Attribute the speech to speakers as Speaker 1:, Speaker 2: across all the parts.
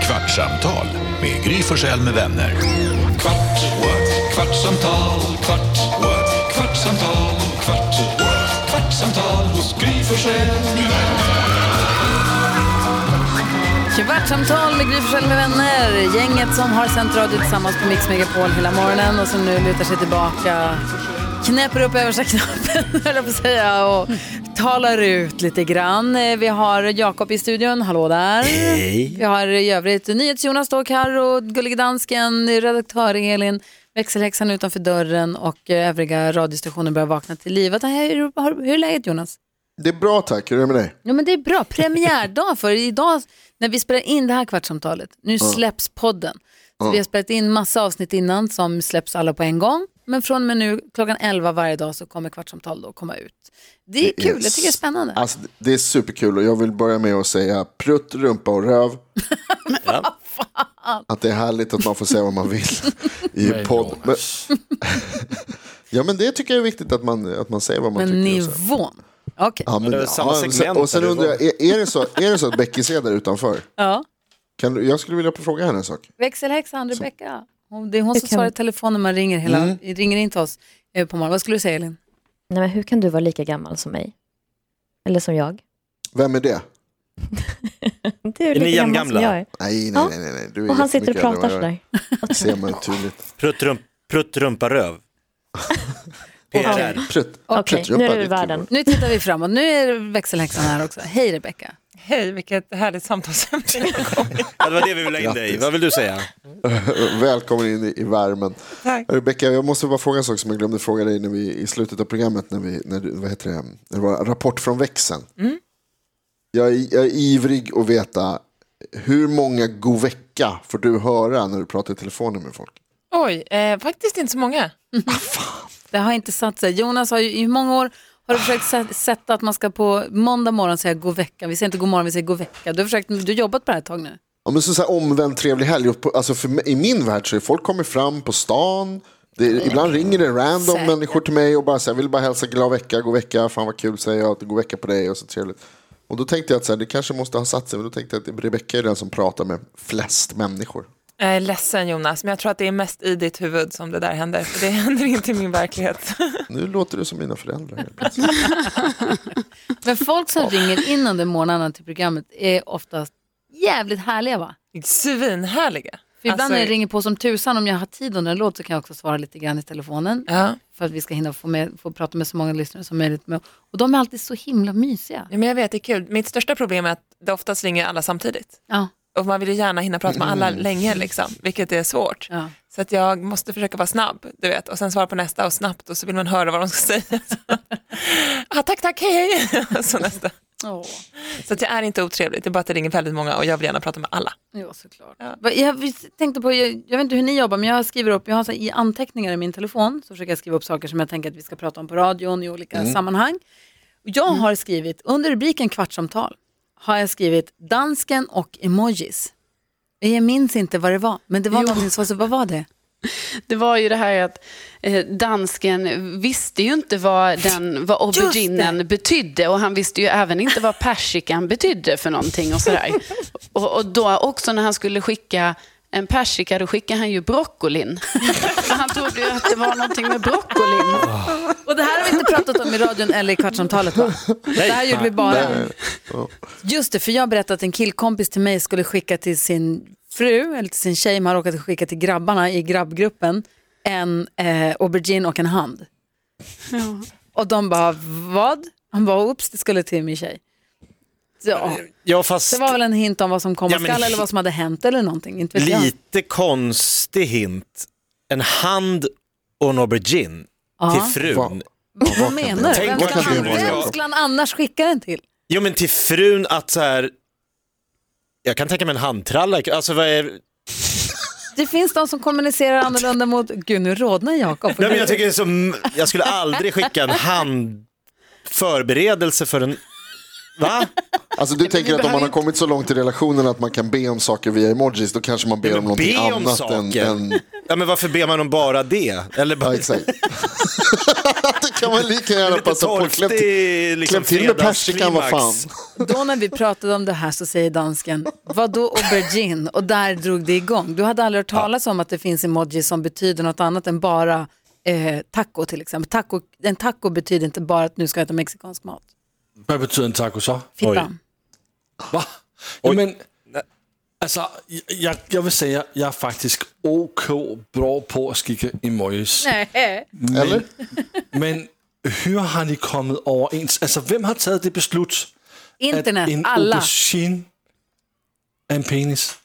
Speaker 1: Kvartsamtal med Gry Forssell med vänner. Kvart, what? kvartsamtal, kvart, what? kvartsamtal, kvart, what? kvartsamtal hos Gry Forssell med vänner.
Speaker 2: Kvartsamtal med Gry Forssell med vänner. Gänget som har sänt radio tillsammans på Mix Megapol hela morgonen och som nu lutar sig tillbaka, knäpper upp översta knappen, höll jag på att säga, och talar ut lite grann. Eh, Vi har Jakob i studion, hallå där.
Speaker 3: Hej.
Speaker 2: Vi har i övrigt NyhetsJonas då, Carro, Gullige Dansken, redaktör Elin, växelhäxan utanför dörren och eh, övriga radiostationer börjar vakna till livet. Hur, har- hur är läget Jonas?
Speaker 4: Det är bra tack, hur är det med dig?
Speaker 2: Ja, men det är bra. Premiärdag för idag när vi spelar in det här kvartssamtalet. Nu släpps podden. Så vi har spelat in massa avsnitt innan som släpps alla på en gång. Men från och med nu klockan 11 varje dag så kommer kvartssamtal då komma ut. Det är kul, jag tycker det är spännande.
Speaker 4: Alltså, det är superkul och jag vill börja med att säga prutt, rumpa och röv. Att det är härligt att man får säga vad man vill i podd. Men, ja men det tycker jag är viktigt att man, att man säger vad man
Speaker 2: Men
Speaker 4: tycker. och så.
Speaker 2: nivån. Okej.
Speaker 4: Ja, men,
Speaker 3: det är väl samma
Speaker 4: och sen,
Speaker 3: segment
Speaker 4: och sen
Speaker 3: där det
Speaker 4: undrar
Speaker 3: var.
Speaker 4: jag, är, är, det så, är det så att Becky är där utanför?
Speaker 2: Ja.
Speaker 4: Kan du, jag skulle vilja fråga henne en sak.
Speaker 2: Växelhäxan Rebecka. Hon, det är hon som svarar i telefon när man ringer, hela,
Speaker 4: Mm.
Speaker 2: ringer in till oss eh, på morgonen. Vad skulle du säga Elin?
Speaker 5: Nej, men hur kan du vara lika gammal som mig? Eller som jag?
Speaker 4: Vem är det?
Speaker 5: Du är
Speaker 3: ni
Speaker 5: lika gammal
Speaker 3: jämngamla?
Speaker 5: som jag är.
Speaker 4: Nej, nej,
Speaker 5: Ja.
Speaker 4: nej. nej, nej. Du är
Speaker 5: Och han sitter och
Speaker 4: jättemycket
Speaker 5: pratar
Speaker 4: äldre än
Speaker 5: sådär.
Speaker 4: vad jag är. ser man tydligt.
Speaker 3: Pruttrump, prutttrumparöv. PRR.
Speaker 4: Prutt,
Speaker 5: Okej,
Speaker 4: prutt, rumpa,
Speaker 5: nu är
Speaker 4: det
Speaker 5: du i
Speaker 4: kul.
Speaker 5: världen.
Speaker 2: Nu tittar vi framåt. Nu är växelhäxan här också. Hej Rebecka.
Speaker 6: Hej, vilket härligt samtalsämne.
Speaker 3: Ja, det var det vi ville ha in dig i. Vad vill du säga?
Speaker 4: Välkommen in i, i värmen.
Speaker 6: Tack.
Speaker 4: Rebecka, jag måste bara fråga en sak som jag glömde fråga dig när vi, i slutet av programmet. När vi, när, du- vad heter det? när det var Rapport från växeln. Jag, är, jag är ivrig att veta hur många god vecka får du höra när du pratar i telefonen med folk?
Speaker 6: Oj, eh, faktiskt inte så många.
Speaker 2: Det har inte satt sig. Jonas har ju i många år har du försökt sä- sätta att man ska på måndag morgon säga god vecka. Vi säger inte god morgon, vi säger god vecka. Du har, försökt, du har jobbat på det här ett tag nu.
Speaker 4: Ja, men så så här, omvänd trevlig helg. Och på- Alltså för, mig- I min värld så är folk kommer fram på stan. Det, Ibland ringer det random
Speaker 2: Säkert.
Speaker 4: människor till mig och bara säger jag vill bara hälsa glad vecka, god vecka, fan vad kul säger jag, god vecka på dig och så trevligt. Och då tänkte jag att så här, det kanske måste ha satt sig, men då tänkte jag att Rebecka är den som pratar med flest människor.
Speaker 6: Jag är Eh, ledsen Jonas, men jag tror att det är mest i ditt huvud som det där händer, för det händer inte i min verklighet.
Speaker 4: Nu låter du som mina föräldrar. helt plötsligt.
Speaker 2: Men folk som ringer in under morgnarna till programmet är oftast jävligt härliga va?
Speaker 6: Svinhärliga.
Speaker 2: För ibland
Speaker 6: Alltså-
Speaker 2: när jag ringer på som tusan, om jag har tid under en låt så kan jag också svara lite grann i telefonen.
Speaker 6: Ja.
Speaker 2: För att vi ska hinna få, med, få prata med så många lyssnare som möjligt. Med. Och de är alltid så himla mysiga.
Speaker 6: ja, men jag vet, det är kul. Mitt största problem är att det oftast ringer alla samtidigt.
Speaker 2: Ja.
Speaker 6: Och man vill ju gärna hinna prata med alla länge, liksom, vilket är svårt.
Speaker 2: Ja.
Speaker 6: Så att jag måste försöka vara snabb, du vet, och sen svara på nästa och snabbt och så vill man höra vad de ska säga. Så. ah, tack, tack, hej, hej. så nästa.
Speaker 2: Åh.
Speaker 6: Så att jag är inte otrevlig, det är bara att det ringer väldigt många och jag vill gärna prata med alla.
Speaker 2: Ja, såklart.
Speaker 6: Ja.
Speaker 2: Va- Jag tänkte på, jag, jag vet inte hur ni jobbar, men jag skriver upp, jag har så här, i anteckningar i min telefon, så försöker jag skriva upp saker som jag tänker att vi ska prata om på radion i olika sammanhang. Och Jag har skrivit, under rubriken kvartsamtal, har jag skrivit dansken och emojis. Jag minns inte vad det var, men det var någonting som var så, vad var det?
Speaker 7: Det var ju det här att eh, dansken visste ju inte vad, den, vad
Speaker 2: det!
Speaker 7: auberginen betydde och han visste ju även inte vad persikan betydde för någonting och sådär. Och, och då också när han skulle skicka en persika, då skickade han ju broccolin. För han trodde ju att det var någonting med broccolin.
Speaker 2: Ah. Och det här har vi inte pratat om i radion eller i kvartsamtalet va? Det här gjorde vi bara. Just det, för jag berättade att en killkompis till mig skulle skicka till sin fru, eller till sin tjej, men har råkat skicka till grabbarna i grabbgruppen, en eh, aubergine och en hand. Och de bara, vad? Han bara, oops, det skulle till min tjej. Ja,
Speaker 3: Ja, fast
Speaker 2: det var väl en hint om vad som komma
Speaker 3: Ja, men
Speaker 2: skall
Speaker 3: hi-
Speaker 2: eller vad som hade hänt eller någonting, inte vet jag.
Speaker 3: lite konstig hint. En hand och en aubergine
Speaker 2: Ja.
Speaker 3: till frun.
Speaker 2: Vad menar du?
Speaker 3: Tänk
Speaker 2: Vem
Speaker 3: vad
Speaker 2: skulle
Speaker 3: kul
Speaker 2: han-
Speaker 3: det var.
Speaker 2: Vem skulle han annars skicka den till?
Speaker 3: Jo, men till frun att så här... Jag kan tänka mig en handtralla. Alltså, vad är...
Speaker 2: Det finns de som kommunicerar annorlunda mot... Gud, nu rodnar Jakob.
Speaker 3: Nej, men jag, tycker det är så... jag skulle aldrig skicka en hand förberedelse för en Va?
Speaker 4: Alltså du tänker att om
Speaker 7: behöver
Speaker 4: man har
Speaker 7: inte-
Speaker 4: kommit så långt i relationen att man kan be om saker via emojis, då kanske man ber
Speaker 3: men
Speaker 4: om någonting
Speaker 3: be om
Speaker 4: annat än...
Speaker 3: saker.
Speaker 4: än
Speaker 3: Ja, men varför ber man om bara det? Eller bara
Speaker 4: ja, exakt. det kan man lika gärna
Speaker 3: lite
Speaker 4: passa på. Kläm till,
Speaker 3: torftig liksom,
Speaker 4: kläm till med persikan, vad fan.
Speaker 3: fredagsklimax.
Speaker 2: Då när vi pratade om det här så säger dansken, vadå aubergine? Och där drog det igång. Du hade aldrig hört talas om att det finns emojis som betyder något annat än bara eh, taco till exempel. Taco, en taco betyder inte bara att nu ska jag äta mexikansk mat.
Speaker 8: Hvad betyder en taco så?
Speaker 2: Fittan.
Speaker 8: Hvad? Jamen, altså, jeg, jeg vil sige, at jeg er faktisk ok bra på at skikke emojis.
Speaker 2: Nej.
Speaker 4: Eller?
Speaker 8: Men hør har de kommet overens? Altså, hvem har taget det beslut,
Speaker 2: Internet,
Speaker 8: at en
Speaker 2: alla.
Speaker 8: aubergine er en penis?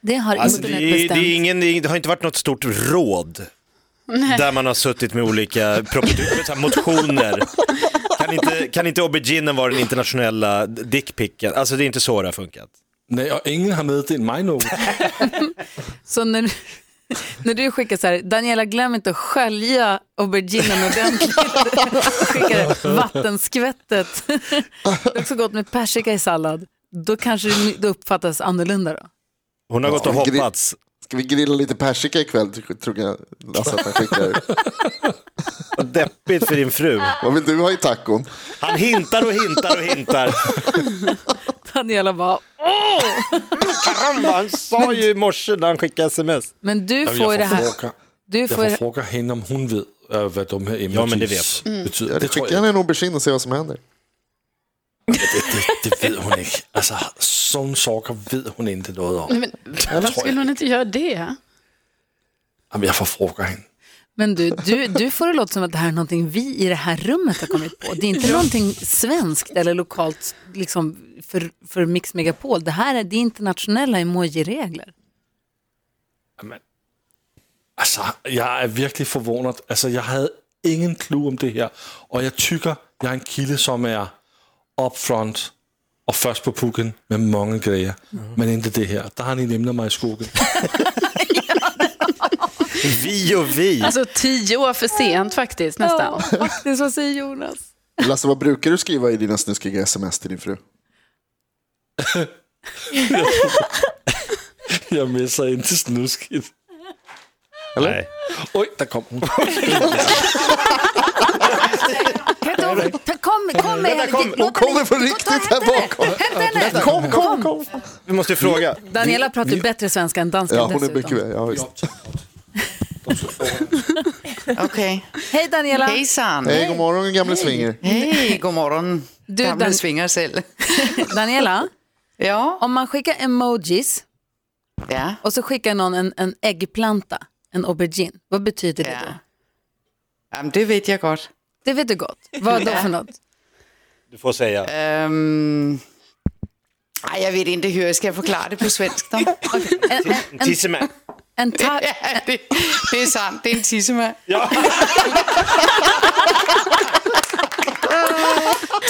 Speaker 2: Det har
Speaker 3: Alltså, det,
Speaker 2: internet
Speaker 3: är- det,
Speaker 2: bestämt.
Speaker 3: är ingen, det har inte varit något stort råd där man har suttit med olika propet- så här, motioner. Kan inte, kan inte auberginen vara den internationella dickpicken? Alltså det är inte så det har funkat.
Speaker 8: Nej, og ingen har meddelt mig noget.
Speaker 2: Så när, du- när du skickar så här, Daniela glöm inte att skölja auberginen ordentligt. skickar vattenskvättet. Det är också gott med persika i sallad. Då kanske det det uppfattas annorlunda då.
Speaker 3: Hon har gått och
Speaker 4: men gre-
Speaker 3: hoppats.
Speaker 4: Ska vi grilla lite persika ikväll, tror- tror jag Lasse att han skickar.
Speaker 3: Vad Deppigt för din fru.
Speaker 4: Vad vill du ha i tacon?
Speaker 3: Han hintar och hintar och hintar.
Speaker 2: Daniela bara,
Speaker 3: Karamba, han sa ju i morse när han skickade sms.
Speaker 2: men du
Speaker 8: Jeg
Speaker 2: får det här.
Speaker 8: forfråger-
Speaker 2: Du
Speaker 8: Jeg
Speaker 2: får,
Speaker 8: forfråger hende, om hun ved, øh, hvad de her emojis
Speaker 3: Jo, men det ved
Speaker 8: betyder.
Speaker 4: Ja, det skickar han en aubergine och ser vad som händer.
Speaker 8: Det ved hun ikke. Altså, som sokker ved hun ikke noget om.
Speaker 7: Men, varför skulle hon inte göra det?
Speaker 8: Jamen, jeg forfråger hende.
Speaker 2: men du, du, du får det låta som att det här är någonting vi i det här rummet har kommit på. Det är inte någonting svenskt eller lokalt liksom, för, för Mix Megapol. Det här är det är internationella emoji-regler.
Speaker 8: Jamen, altså, jeg er virkelig forvånet. Altså, jeg havde ingen clue om det her. Og jeg tykker, jeg er en kilde, som er upfront og først på pukken med mange grejer.
Speaker 4: Mhm.
Speaker 8: Men ikke det her. Der har han ikke emnet mig i skogen.
Speaker 3: Vi och vi.
Speaker 7: Alltså tio år för sent faktiskt nästan.
Speaker 2: faktiskt, vad säger Jonas?
Speaker 4: Lasse, vad brukar du skriva i dina snuskiga sms till din fru?
Speaker 8: Jeg misser ind til snuskidt.
Speaker 3: Nej.
Speaker 8: Oj, der kom hun.
Speaker 2: Ta- Kom, kom med henne.
Speaker 3: kom.
Speaker 2: Låt henne
Speaker 4: kommer på
Speaker 2: in.
Speaker 4: riktigt
Speaker 2: Ta- hämta
Speaker 4: här
Speaker 2: henne.
Speaker 4: bakom.
Speaker 2: Hämta henne.
Speaker 4: Kom, kom, kom!
Speaker 3: Vi måste ju fråga.
Speaker 2: Daniela pratar ju bättre svenska än danska
Speaker 4: Ja, hon är
Speaker 2: dessutom.
Speaker 4: mycket väl. Ja, visst.
Speaker 9: Okej.
Speaker 2: Hej Daniela.
Speaker 9: Hejsan.
Speaker 4: Hej, god morgon gamle swinger.
Speaker 9: Hej, god morgon.
Speaker 2: Du,
Speaker 9: Du, Gamle
Speaker 2: Dan-
Speaker 9: swingarsill.
Speaker 2: Daniela,
Speaker 9: Ja.
Speaker 2: om man skickar emojis
Speaker 9: ja.
Speaker 2: och så skickar någon en, en äggplanta, en aubergine, vad betyder det då?
Speaker 9: ja. ja men det vet jag gott.
Speaker 2: Det vet du gott. Vad då för något?
Speaker 3: Du får säga.
Speaker 9: Ehm, nej, jag vet inte hur jag ska förklara det på svenska.
Speaker 2: En, en, en,
Speaker 3: Tissema.
Speaker 2: en, ta-
Speaker 9: det, det är sant, det är en tissema.
Speaker 3: Ja.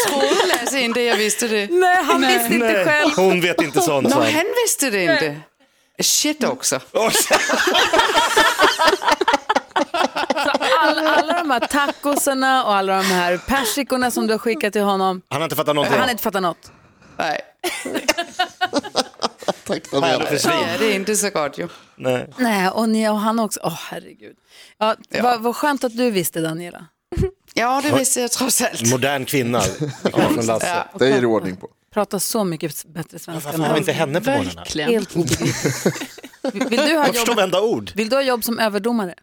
Speaker 9: Trodde Lasse inte jag visste det?
Speaker 2: Nej, han visste inte själv.
Speaker 3: Hon vet inte sånt.
Speaker 9: Nå,
Speaker 3: sa han.
Speaker 9: han visste det inte. Shit också.
Speaker 2: Alla, alla de här tacoserna och alla de här persikorna som du har skickat till honom,
Speaker 3: Han har inte fattat
Speaker 2: han
Speaker 3: någonting.
Speaker 2: har inte fattat något.
Speaker 9: Nej,
Speaker 4: Tack
Speaker 3: Vad är
Speaker 4: Daniela.
Speaker 3: det för svin?
Speaker 9: ja, det är inte så gott ju.
Speaker 3: Nej.
Speaker 2: Nej, och, ni, och han också. Åh, herregud. Ja, Vad, vad skönt att du visste, Daniela.
Speaker 9: Ja, det visste jag trots allt.
Speaker 3: Modern kvinna. Från Lasse.
Speaker 4: Det är det ordning på.
Speaker 2: Pratar så mycket bättre svenska än
Speaker 3: Varför har vi
Speaker 2: han.
Speaker 3: inte henne på morgonen?
Speaker 7: Verkligen.
Speaker 2: Helt obegripligt. Vill, du ha
Speaker 3: Jag förstår
Speaker 2: jobb-
Speaker 3: varenda ord.
Speaker 2: vill du ha jobb som överdomare?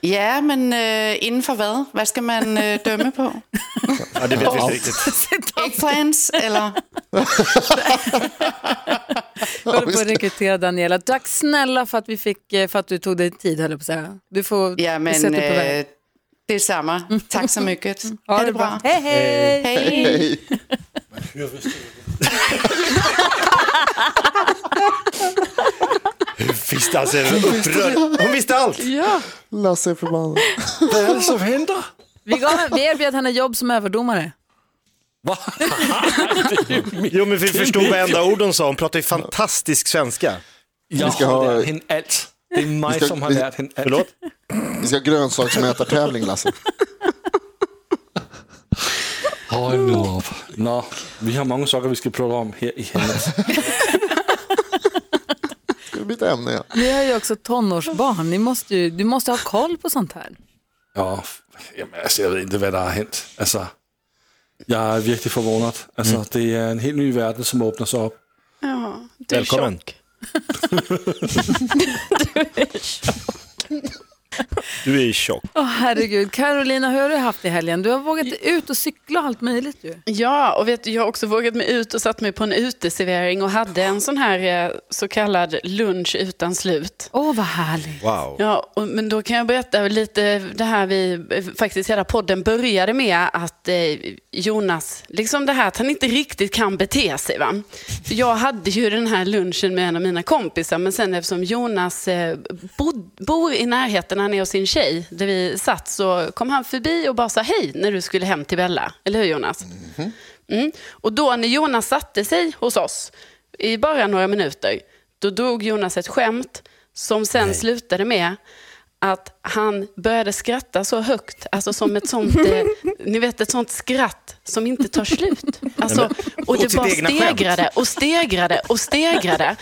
Speaker 9: Ja, men uh, inför vad? Vad ska man eh, döma på?
Speaker 3: Ja, det vet vi inte riktigt.
Speaker 9: Äggplants eller?
Speaker 2: Jag håller på att rekrytera Daniela. Tack snälla för att, vi fick, eh, för att du tog dig tid, höll jag på att säga. Du får
Speaker 9: Ja, men
Speaker 2: vi sätter på vägen.
Speaker 9: eh, det är samma. Tack så mycket.
Speaker 2: Ha
Speaker 9: Ha det bra.
Speaker 2: Hej, hej!
Speaker 9: Hej.
Speaker 4: Hej.
Speaker 3: Visste alltså, upprörd. Hon visste allt.
Speaker 4: Lasse är förbannad.
Speaker 8: Hvad er det, som henter?
Speaker 2: Vi, gav, vi erbjöd henne jobb som överdomare.
Speaker 8: Hvad?
Speaker 3: Jo, men vi förstod varenda ord hon sa. Hon pratar ju fantastisk svenska.
Speaker 8: Jeg
Speaker 4: skal
Speaker 8: har
Speaker 4: have-
Speaker 8: lært hende alt. Det er mig,
Speaker 4: Vi skal-
Speaker 8: som har
Speaker 4: vi-
Speaker 8: lært hende alt.
Speaker 3: Förlåt?
Speaker 4: Vi ska ha grönsaksmätartävling Lasse.
Speaker 8: Hold nu op. Mm. Nå, vi har mange sokker, vi skal prøve om her i hennes.
Speaker 4: Ska vi byta ämne igen?
Speaker 2: Ni har ju också tonårsbarn. Ni måste ju, du måste ha koll på sånt här.
Speaker 8: Ja, jamen, altså, jeg ved ikke, hvad der er hent. Altså, jeg er virkelig forvånet. Altså, mm. det er en helt ny verden, som åbner sig op.
Speaker 7: Ja, du är
Speaker 3: Välkommen.
Speaker 7: tjock.
Speaker 3: Du är tjock.
Speaker 2: Åh herregud. Carolina, hur har du haft i helgen? Du har vågat ut och cykla och allt möjligt ju.
Speaker 7: Ja, och vet, du, jag har också vågat mig ut och satt mig på en uteservering och hade en sån här eh, så kallad lunch utan slut.
Speaker 2: Åh, vad härligt.
Speaker 3: Wow.
Speaker 7: Ja, och, men då kan jag berätta lite det här vi eh, faktiskt hela podden började med att eh, Jonas, liksom det här att han inte riktigt kan bete sig. Va? För Jag hade ju den här lunchen med en av mina kompisar men sen eftersom Jonas eh, bod, bor i närheten, han är hos sin tjej där vi satt så kom han förbi och bara sa hej när du skulle hem till Bella. Eller hur Jonas? Mm. Och då när Jonas satte sig hos oss i bara några minuter, då drog Jonas ett skämt som sen slutade med att han började skratta så högt, alltså som ett sånt, eh, ni vet, ett sånt skratt som inte tar slut. Alltså, och
Speaker 3: åt
Speaker 7: det
Speaker 3: sitt
Speaker 7: bara
Speaker 3: egna skämt.
Speaker 7: stegrade och stegrade och stegrade.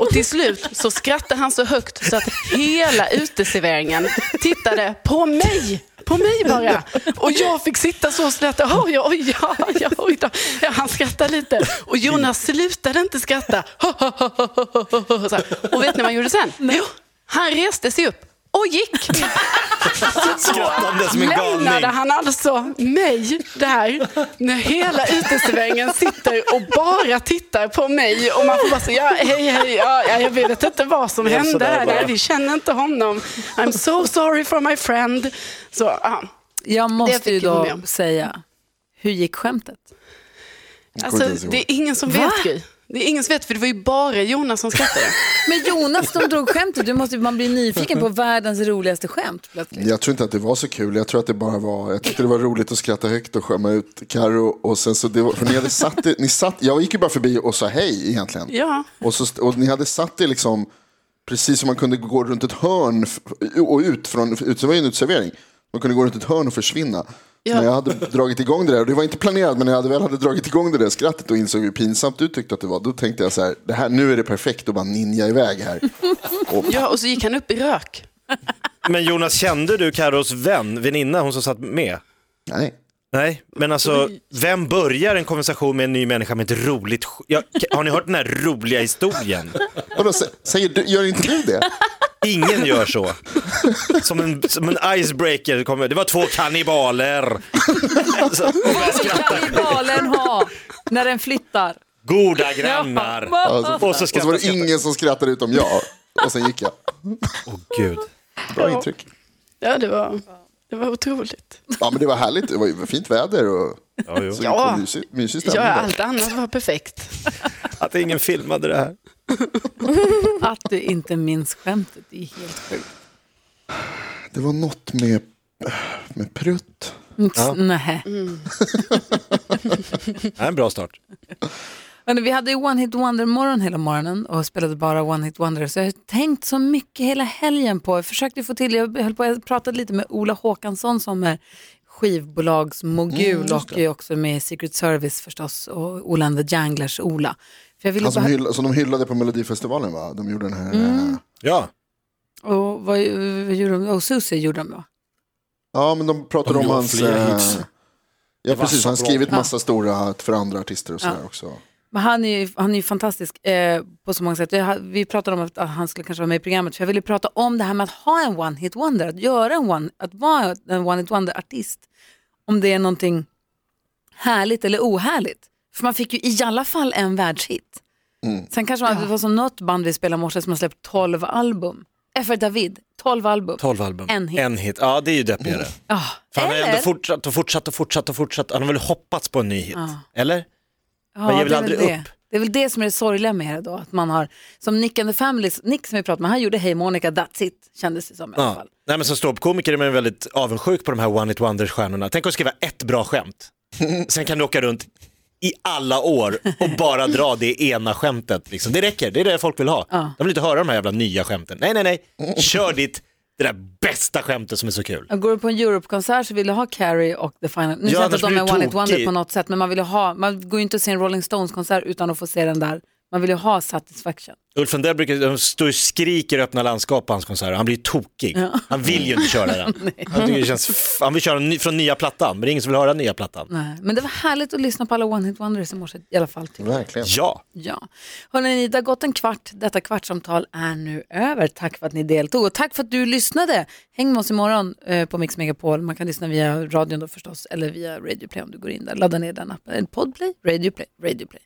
Speaker 7: Och till slut så skrattade han så högt så att hela uteserveringen tittade på mig. På mig bara. Och jag fick sitta så snett. Oj, oj, ja, ja, oj då. Ja, han skrattade lite. Och Jonas slutade inte skratta. Så här. Och vet ni vad han gjorde sen? Jo, han reste sig upp och gick.
Speaker 3: Skrattande som en
Speaker 7: Lämnade
Speaker 3: galning.
Speaker 7: han alltså mig där när hela uteserveringen sitter och bara tittar på mig och man får bara säga ja, hej hej, ja, ja, jag vet inte vad som
Speaker 3: Ja,
Speaker 7: hände
Speaker 3: sådär
Speaker 7: här,
Speaker 3: bara.
Speaker 7: Nej, vi känner inte honom. I'm so sorry for my friend. Så, ja.
Speaker 2: Jag
Speaker 7: Det
Speaker 2: måste
Speaker 7: fick
Speaker 2: ju
Speaker 7: jag
Speaker 2: då
Speaker 7: med om.
Speaker 2: säga, hur gick skämtet?
Speaker 7: alltså,
Speaker 4: inte ens ihåg.
Speaker 7: det är ingen som
Speaker 2: Va?
Speaker 7: vet Gry. Det är ingen som vet, för det var ju bara Jonas som skrattade.
Speaker 2: Men Jonas, de drog skämtet. Du måste, man blir nyfiken på världens roligaste skämt plötsligt.
Speaker 4: Jag tror inte att det var så kul. Jag tror att det bara var, jag tyckte det var roligt att skratta högt och skämma ut Karo. Och sen så, det var, för ni hade satt er, ni satt, jag gick ju bara förbi och sa hej egentligen.
Speaker 7: Ja.
Speaker 4: Och, så, och ni hade satt er liksom, precis som man kunde gå runt ett hörn f- och ut från, ut, det var ju en utservering. Man kunde gå runt ett hörn och försvinna.
Speaker 7: Ja.
Speaker 4: När jag hade dragit igång det där, och det var inte planerat, men när jag hade väl hade dragit igång det där skrattet och insåg hur pinsamt du tyckte att det var, då tänkte jag så här, det här nu är det perfekt att bara ninja iväg här. Och,
Speaker 7: ja, och så gick han upp i rök.
Speaker 3: Men Jonas, kände du Carros vän, väninna, hon som satt med?
Speaker 4: nej.
Speaker 3: Nej, men alltså, vem börjar en konversation med en ny människa med ett roligt sk- ja, Har ni hört den här roliga historien?
Speaker 4: Vadå, sä- säger du, gör inte du det?
Speaker 3: Ingen gör så. Som en, som en icebreaker. Kommer. Det var två kannibaler. Så, och börjar skratta.
Speaker 2: Kannibalen ha när den flyttar.
Speaker 3: Goda grannar. Och så
Speaker 4: Alltså, Och så var
Speaker 3: skrattar
Speaker 4: det ingen som skrattade utom jag. Och sen gick jag.
Speaker 3: Åh gud.
Speaker 4: Bra intryck.
Speaker 7: Ja, det var, det var otroligt.
Speaker 4: Ja, men det var härligt. Det var ju fint väder och
Speaker 3: Ja, jo.
Speaker 4: så
Speaker 7: Ja.
Speaker 4: ja. mysig, mysig
Speaker 7: Ja,
Speaker 4: stämning. där.
Speaker 7: allt annat var perfekt.
Speaker 3: Att ingen filmade det här.
Speaker 2: Att du inte minns skämtet det är helt sjukt.
Speaker 4: Det var något med, med prutt.
Speaker 2: Nej.
Speaker 3: Det här är en bra start.
Speaker 2: Men vi hade ju One Hit Wonder-morgon hela morgonen och spelade bara One Hit Wonder. Så jag har tänkt så mycket hela helgen på, jag försökte få till, jag höll på, jag pratade lite med Ola Håkansson som är
Speaker 4: Mm,
Speaker 2: skivbolagsmogul och är också med i Secret Service förstås och Ola and the Janglers Ola. För jag ville
Speaker 4: Han som,
Speaker 2: bara,
Speaker 4: hyll, som de hyllade på Melodifestivalen, va? De gjorde den här... eh,
Speaker 3: Ja.
Speaker 2: och vad, vad gjorde de? Och Susie gjorde de va?
Speaker 4: Ja, men de pratade
Speaker 8: De
Speaker 4: om
Speaker 8: gjorde
Speaker 4: hans...
Speaker 8: flera
Speaker 4: eh,
Speaker 8: hits.
Speaker 4: Ja,
Speaker 8: var
Speaker 4: precis.
Speaker 8: så
Speaker 4: Han har
Speaker 8: bra.
Speaker 4: skrivit massa stora för andra artister och sådär också.
Speaker 2: Men han är ju, han är ju fantastisk eh, på så många sätt. Jag, ha- vi pratade om att att han skulle kanske vara med i programmet för jag ville prata om det här med att ha en one-hit wonder, att göra en one, att vara en one-hit wonder-artist. Om det är någonting härligt eller ohärligt. För man fick ju i alla fall en världshit. Sen kanske man, det var som något band vi spelade i morse som har släppt 12 album. FR David, 12 album.
Speaker 3: 12 album.
Speaker 2: En hit.
Speaker 3: En hit. Ja, det är ju deppigare.
Speaker 2: Ja,
Speaker 3: För han har
Speaker 2: eller?
Speaker 3: ändå fortsatt och fortsatt och fortsatt och fortsatt. Han har väl hoppats på en ny hit?
Speaker 2: Ja.
Speaker 3: Eller? Man ger väl
Speaker 2: det är
Speaker 3: aldrig
Speaker 2: väl det.
Speaker 3: upp.
Speaker 2: Det är väl det som är det sorgliga med det då, att man har, som Nick and the Family, Nick som vi pratade med, han gjorde Hey Monica, that's it, kändes det som i alla
Speaker 3: Ja.
Speaker 2: fall.
Speaker 3: Nej men som ståuppkomiker är man ju väldigt avundsjuk på de här one hit wonders stjärnorna. Tänk att skriva ett bra skämt. Sen kan du åka runt i alla år och bara dra det ena
Speaker 2: Mm.
Speaker 3: skämtet. Liksom. Det räcker, det är det folk vill ha. De vill inte höra de här jävla nya skämten. Nej, nej, nej, kör ditt det där bästa skämtet som är så kul.
Speaker 2: Går du på en Europe-konsert så vill du ha Carrie och The Final. Nu
Speaker 3: Ja,
Speaker 2: ja, inte
Speaker 3: annars
Speaker 2: att de
Speaker 3: blir
Speaker 2: är
Speaker 3: du
Speaker 2: One Hit Wonder
Speaker 3: tokig.
Speaker 2: på något sätt, men man vill ju ha, man går ju inte att se en Rolling Stones-konsert utan att få se den där. Man vill ju ha satisfaction.
Speaker 3: Ulf Lundell brukar de står och skriker i öppna landskap på hans konserter. Han blir tokig. Han vill ju inte köra den. han, tycker det känns f- han vill köra ny, från nya plattan, men det är ingen som vill höra nya plattan.
Speaker 2: Nej. Men det var härligt att lyssna på alla One Hit Wonders i morse i alla fall. Tycker jag.
Speaker 4: Verkligen.
Speaker 3: Ja,
Speaker 2: Ja. Hörrni, det har gått en kvart. Detta kvartsamtal är nu över. Tack för att ni deltog och tack för att du lyssnade. Häng med oss imorgon eh, på Mix Megapol. Man kan lyssna via radion då förstås, eller via Radio Play om du går in där. Ladda ner den appen. Podplay, Radio Play, Radio Play.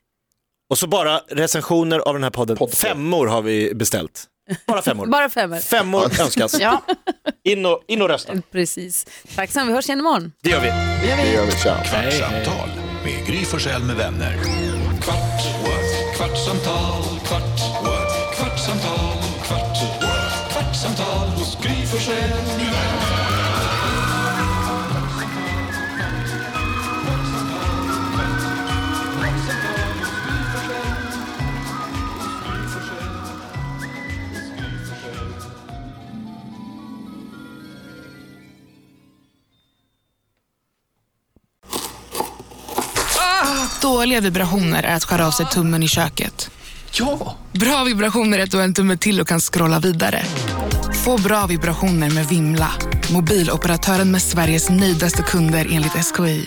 Speaker 3: och så bara recensioner av den här podden. Femmor har vi beställt. Bara femmor.
Speaker 2: Bara femmor.
Speaker 3: Femmor önskas.
Speaker 7: Ja.
Speaker 3: In och, in och rösta.
Speaker 2: Precis. Tack så mycket. Vi hörs igen imorgon.
Speaker 3: Det gör vi.
Speaker 4: Det gör vi. Ciao.
Speaker 1: Kvartsamtal med Gry Forssell med vänner. Kvart, what? kvartsamtal, kvart, what? kvartsamtal, kvart, what? kvartsamtal hos Gry Forssell med vänner.
Speaker 10: Dåliga vibrationer är att skära av sig tummen i köket. Ja! Bra vibrationer är att du har en tumme till och kan scrolla vidare. Få bra vibrationer med Vimla. Mobiloperatören med Sveriges nöjdaste kunder enligt SKI.